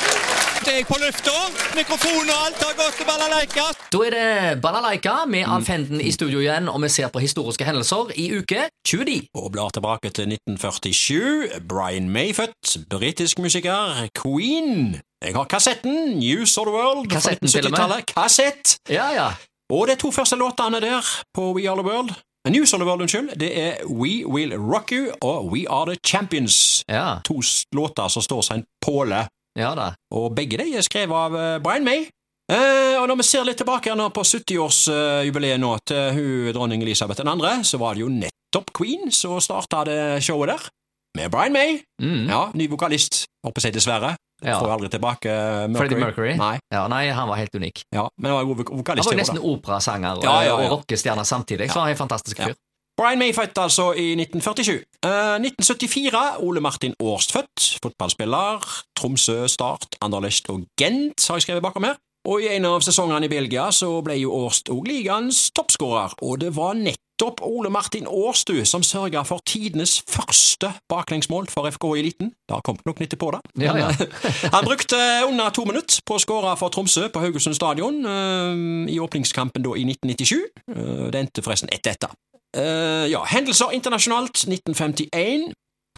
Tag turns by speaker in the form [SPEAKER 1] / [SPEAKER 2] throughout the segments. [SPEAKER 1] Snart er jeg på lufta. Mikrofon og alt har gått til balalaika.
[SPEAKER 2] Da er det Balalaika med
[SPEAKER 1] Mm.
[SPEAKER 2] Alfenden i studio igjen, og vi ser på historiske hendelser i uke 20.
[SPEAKER 1] Og blar tilbake til 1947. Brian Mayfødt, britisk musiker. Queen. Jeg har kassetten. News of the World. fra
[SPEAKER 2] Kassetten til og med.
[SPEAKER 1] 1970-tallet. Kassett.
[SPEAKER 2] Ja, ja.
[SPEAKER 1] Og de to første låtene der på We Are the World News of the World, unnskyld, det er We Will Rock You og We Are The Champions.
[SPEAKER 2] Ja,
[SPEAKER 1] To s- låter som står seg en påle.
[SPEAKER 2] ja da.
[SPEAKER 1] Og begge de er skrevet av eh, Brian May. Eh, og når vi ser litt tilbake nå på 70-årsjubileet nå til hun, dronning Elisabeth 2., så var det jo nettopp Queen som starta det showet der. Med Brian May.
[SPEAKER 2] Mm.
[SPEAKER 1] Ja, ny vokalist. Håper jeg, dessverre.
[SPEAKER 2] Ja.
[SPEAKER 1] Får aldri tilbake eh, Mercury.
[SPEAKER 2] Freddie Mercury?
[SPEAKER 1] Nei,
[SPEAKER 2] Ja, nei, han var helt unik.
[SPEAKER 1] ja, men han var en god vok-
[SPEAKER 2] Han
[SPEAKER 1] vokalist.
[SPEAKER 2] var jo
[SPEAKER 1] det var
[SPEAKER 2] nesten
[SPEAKER 1] det.
[SPEAKER 2] operasanger og,
[SPEAKER 1] Ja, ja, ja.
[SPEAKER 2] og rockestjerne samtidig, så han er en fantastisk
[SPEAKER 1] Ja.
[SPEAKER 2] fyr.
[SPEAKER 1] Brian May født altså i 1947. Eh, 1974, Ole Martin Aarst født. Fotballspiller. Tromsø, Start, Anderlecht og Gent har jeg skrevet bakom her. Og i en av sesongene i Belgia så ble jo Aarst og ligaens toppskårer. Og det var nettopp Ole Martin Aarst du, som sørga for tidenes første baklengsmål for FK i eliten. Det har kommet nok nytte på det.
[SPEAKER 2] Ja, ja.
[SPEAKER 1] Han brukte under to minutter på å skåre for Tromsø på Haugesund stadion eh, i åpningskampen da i 1997. Eh, det endte forresten etter dette. Eh, ja, hendelser internasjonalt 1951.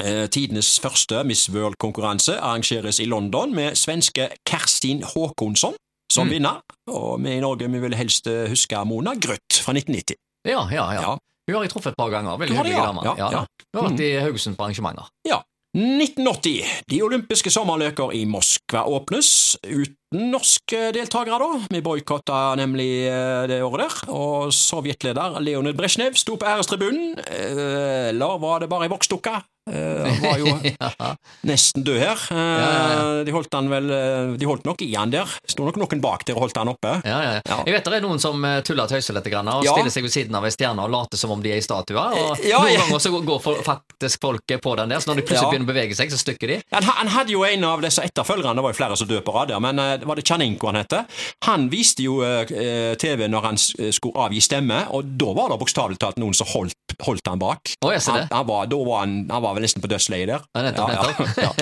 [SPEAKER 1] Eh, Tidenes første Miss World-konkurranse arrangeres i London med svenske Kerstin Håkonsson som
[SPEAKER 2] Mm.
[SPEAKER 1] vinner. Og vi i Norge vi vil helst eh, huske Mona Grøth fra 1990.
[SPEAKER 2] Ja, ja, ja.
[SPEAKER 1] Ja.
[SPEAKER 2] Hun har jeg truffet et par ganger.
[SPEAKER 1] Du
[SPEAKER 2] Veldig
[SPEAKER 1] har det,
[SPEAKER 2] hyggelig
[SPEAKER 1] ja.
[SPEAKER 2] dame.
[SPEAKER 1] Ja,
[SPEAKER 2] Ja, da.
[SPEAKER 1] ja. Mm.
[SPEAKER 2] Hun har vært i Haugesund på arrangementer.
[SPEAKER 1] Ja. 1980. De olympiske sommerløker i Moskva åpnes, uten norske deltakere, da. Vi boikotta nemlig eh, det året der, og sovjetleder Leonid Brezjnev sto på ærestribunen. Eh, Eller var det bare ei voksdukke? Eh, Han var jo
[SPEAKER 2] Ja.
[SPEAKER 1] nesten død her. Eh,
[SPEAKER 2] Ja,
[SPEAKER 1] De holdt han vel eh, De holdt nok i han der. Sto nok noen bak der og holdt han oppe.
[SPEAKER 2] Ja, ja. ja.
[SPEAKER 1] Ja.
[SPEAKER 2] Jeg vet det er noen som eh, tuller og tøyser litt grann, og
[SPEAKER 1] Ja.
[SPEAKER 2] stiller seg ved siden av ei stjerne og later som om de er i statuer. Og
[SPEAKER 1] Eh, ja,
[SPEAKER 2] noen
[SPEAKER 1] ja.
[SPEAKER 2] ganger så går for, faktisk folket på den der, så når de plutselig
[SPEAKER 1] Ja.
[SPEAKER 2] begynner å bevege seg, så stykker de.
[SPEAKER 1] Han, han hadde jo en av disse etterfølgerne, det var jo flere som døde på rad der, men eh, var det Tjernenko han hette? Han viste jo eh, eh, TV når han s- eh, skulle avgi stemme, og da var det bokstavelig talt noen som holdt, holdt han bak.
[SPEAKER 2] Å, jeg ser
[SPEAKER 1] Han,
[SPEAKER 2] det.
[SPEAKER 1] han, var, da var han, han var vel nesten på dødsleiet der.
[SPEAKER 2] Ja, nettopp, nettopp.
[SPEAKER 1] ja,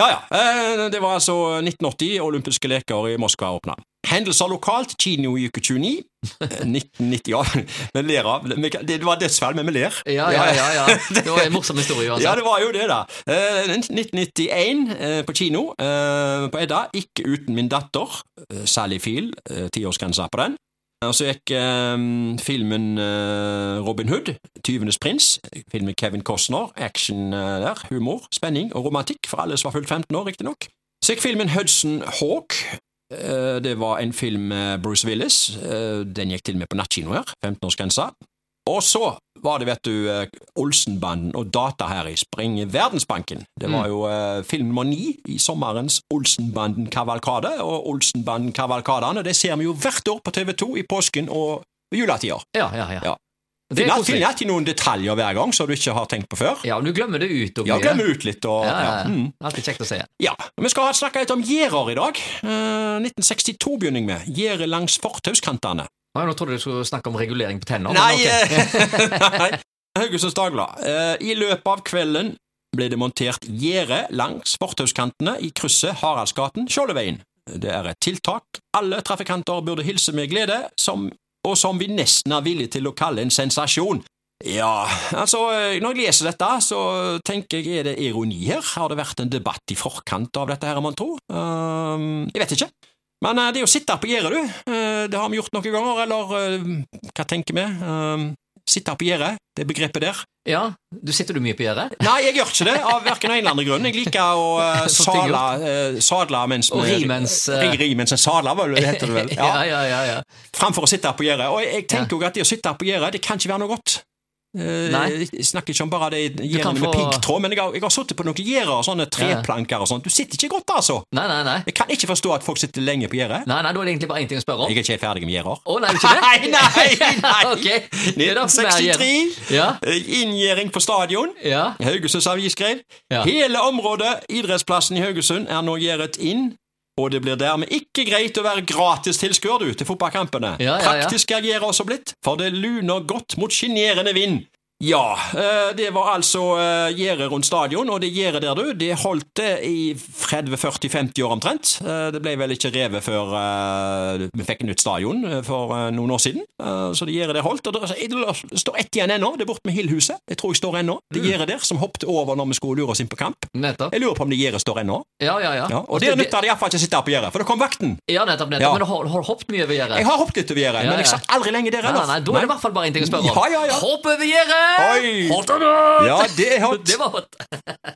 [SPEAKER 1] ja. ja, ja. Eh, Det var altså 1980, olympiske leker i Moskva åpna. Hendelser lokalt, kino i uke 29. Eh, 1990, ja, vi ler av vi kan- Det var dødsfall, men vi ler.
[SPEAKER 2] Ja, ja, ja. ja. Det var en morsom historie altså.
[SPEAKER 1] Ja,
[SPEAKER 2] uansett.
[SPEAKER 1] det var jo det, da. Eh, 1991 eh, på kino, eh, på Edda. Ikke uten min datter. Eh, Sally Field, eh, tiårsgrensa på den. Og så gikk eh, filmen eh, Robin Hood, Tyvenes prins. Filmen Kevin Costner. Action eh, der. Humor, spenning og romantikk for alle som var fullt 15 år, riktignok. Så gikk filmen Hudson Hawk. Eh, Det var en film med Bruce Willis. Eh, Den gikk til og med på nattkino her. 15-årsgrensa. Og så var det, vet du, eh, Olsenbanden og data her i Spring i Verdensbanken. Det
[SPEAKER 2] Mm.
[SPEAKER 1] var jo eh, film nummer ni i sommerens Olsenbanden-kavalkade. Og Olsenbanden-kavalkadene det ser vi jo hvert år på TV2 i påsken og juletider.
[SPEAKER 2] Ja, ja, ja.
[SPEAKER 1] Ja.
[SPEAKER 2] Det er
[SPEAKER 1] Finner
[SPEAKER 2] koselig.
[SPEAKER 1] finner alltid noen detaljer hver gang som du ikke har tenkt på før.
[SPEAKER 2] Ja, men du glemmer det ut. og
[SPEAKER 1] Ja,
[SPEAKER 2] mye.
[SPEAKER 1] glemmer ut litt og
[SPEAKER 2] Ja, ja,
[SPEAKER 1] ja.
[SPEAKER 2] ja.
[SPEAKER 1] Mm.
[SPEAKER 2] Alltid kjekt å se.
[SPEAKER 1] Ja, Vi skal ha- snakke litt om gjerder i dag. Eh, 1962 begynner jeg med. Gjerdet langs fortauskantene.
[SPEAKER 2] Å, ja, Nå trodde jeg du skulle snakke om regulering på tenner. men
[SPEAKER 1] Nei,
[SPEAKER 2] ok.
[SPEAKER 1] eh, nei. Haugesunds Dagblad. Eh, I løpet av kvelden ble det montert gjerde langs fortauskantene i krysset Haraldsgaten Skjoldeveien. Det er et tiltak alle trafikanter burde hilse med glede, som, og som vi nesten er villige til å kalle en sensasjon. Ja, altså, eh, når jeg leser dette, så tenker jeg, er det ironi her? Har det vært en debatt i forkant av dette her, man tror? Ehm, jeg vet ikke. Men eh, det er å sitte på gjerdet, du. Eh, det har vi gjort noen ganger, eller eh, hva tenker vi? Ehm, sitte på gjerdet, det begrepet der.
[SPEAKER 2] Ja, du Sitter du mye på gjerdet?
[SPEAKER 1] Nei, jeg gjør ikke det, av hverken en eller annen grunn. Jeg liker å eh,
[SPEAKER 2] Så ting
[SPEAKER 1] sadle, eh, sadle mens
[SPEAKER 2] Og
[SPEAKER 1] vi-
[SPEAKER 2] ri mens, eh,
[SPEAKER 1] Ri, ri mens en sadler, vel, det heter det vel.
[SPEAKER 2] Ja, ja,
[SPEAKER 1] Ja,
[SPEAKER 2] ja. ja.
[SPEAKER 1] framfor å sitte på gjerdet. Og jeg tenker jo at det å sitte på gjerdet, det kan ikke være noe godt. Eh,
[SPEAKER 2] Nei.
[SPEAKER 1] jeg snakker ikke om bare de
[SPEAKER 2] kan
[SPEAKER 1] gjerdene med
[SPEAKER 2] få-
[SPEAKER 1] piggtråd, men jeg har, jeg har sittet på noen gjerder og sånne treplanker og sånt. Du sitter ikke godt, altså.
[SPEAKER 2] Nei, nei, nei.
[SPEAKER 1] Jeg kan ikke forstå at folk sitter lenge på gjerdet.
[SPEAKER 2] Nei, nei, Da er det egentlig bare én ting å spørre om.
[SPEAKER 1] Jeg er ikke helt ferdig med gjerder.
[SPEAKER 2] Å, nei, er du ikke det?
[SPEAKER 1] Nei, nei, nei.
[SPEAKER 2] Ok, det er da for meg igjen.
[SPEAKER 1] 1963.
[SPEAKER 2] Ja,
[SPEAKER 1] Inngjerding Eh, på stadion.
[SPEAKER 2] ja,
[SPEAKER 1] Haugesunds Avis skrev
[SPEAKER 2] Ja.
[SPEAKER 1] Hele området, idrettsplassen i Haugesund, er nå gjerdet inn, og det blir dermed ikke greit å være gratis tilskuer du, til fotballkampene.
[SPEAKER 2] Ja, ja, ja.
[SPEAKER 1] Praktisk er gjerdet også blitt, for det luner godt mot sjenerende vind. Ja, eh, det var altså eh, gjerdet rundt stadion, og det gjerdet der, du, det holdt det i 30-40-50 år omtrent. Eh, Det ble vel ikke revet før eh, vi fikk nytt stadion eh, for eh, noen år siden. Eh, Så det gjerdet der holdt. Og det det står ett igjen ennå, det er borte med Hillhuset. Jeg tror jeg står ennå. Det
[SPEAKER 2] Mm.
[SPEAKER 1] gjerdet der som hoppet over når vi skulle lure oss inn på kamp.
[SPEAKER 2] Nettopp.
[SPEAKER 1] Jeg lurer på om det gjerdet står ennå.
[SPEAKER 2] Ja, ja, ja.
[SPEAKER 1] Ja, og der nytta det iallfall ikke å sitte på gjerdet, for da kom vakten.
[SPEAKER 2] Ja, nettopp, nettopp.
[SPEAKER 1] Ja.
[SPEAKER 2] Men du har, har hoppet mye over gjerdet.
[SPEAKER 1] Jeg har hoppet litt over gjerdet,
[SPEAKER 2] Ja,
[SPEAKER 1] men jeg
[SPEAKER 2] ja.
[SPEAKER 1] satt aldri lenge der
[SPEAKER 2] Nei, nei,
[SPEAKER 1] ellers.
[SPEAKER 2] nei, da er det i hvert fall bare en ting å spørre om.
[SPEAKER 1] Ja, ja, ja.
[SPEAKER 2] Hopp over gjerdet!
[SPEAKER 1] Oi.
[SPEAKER 2] Hopp over!
[SPEAKER 1] Ja, det er hot.
[SPEAKER 2] Det var hot.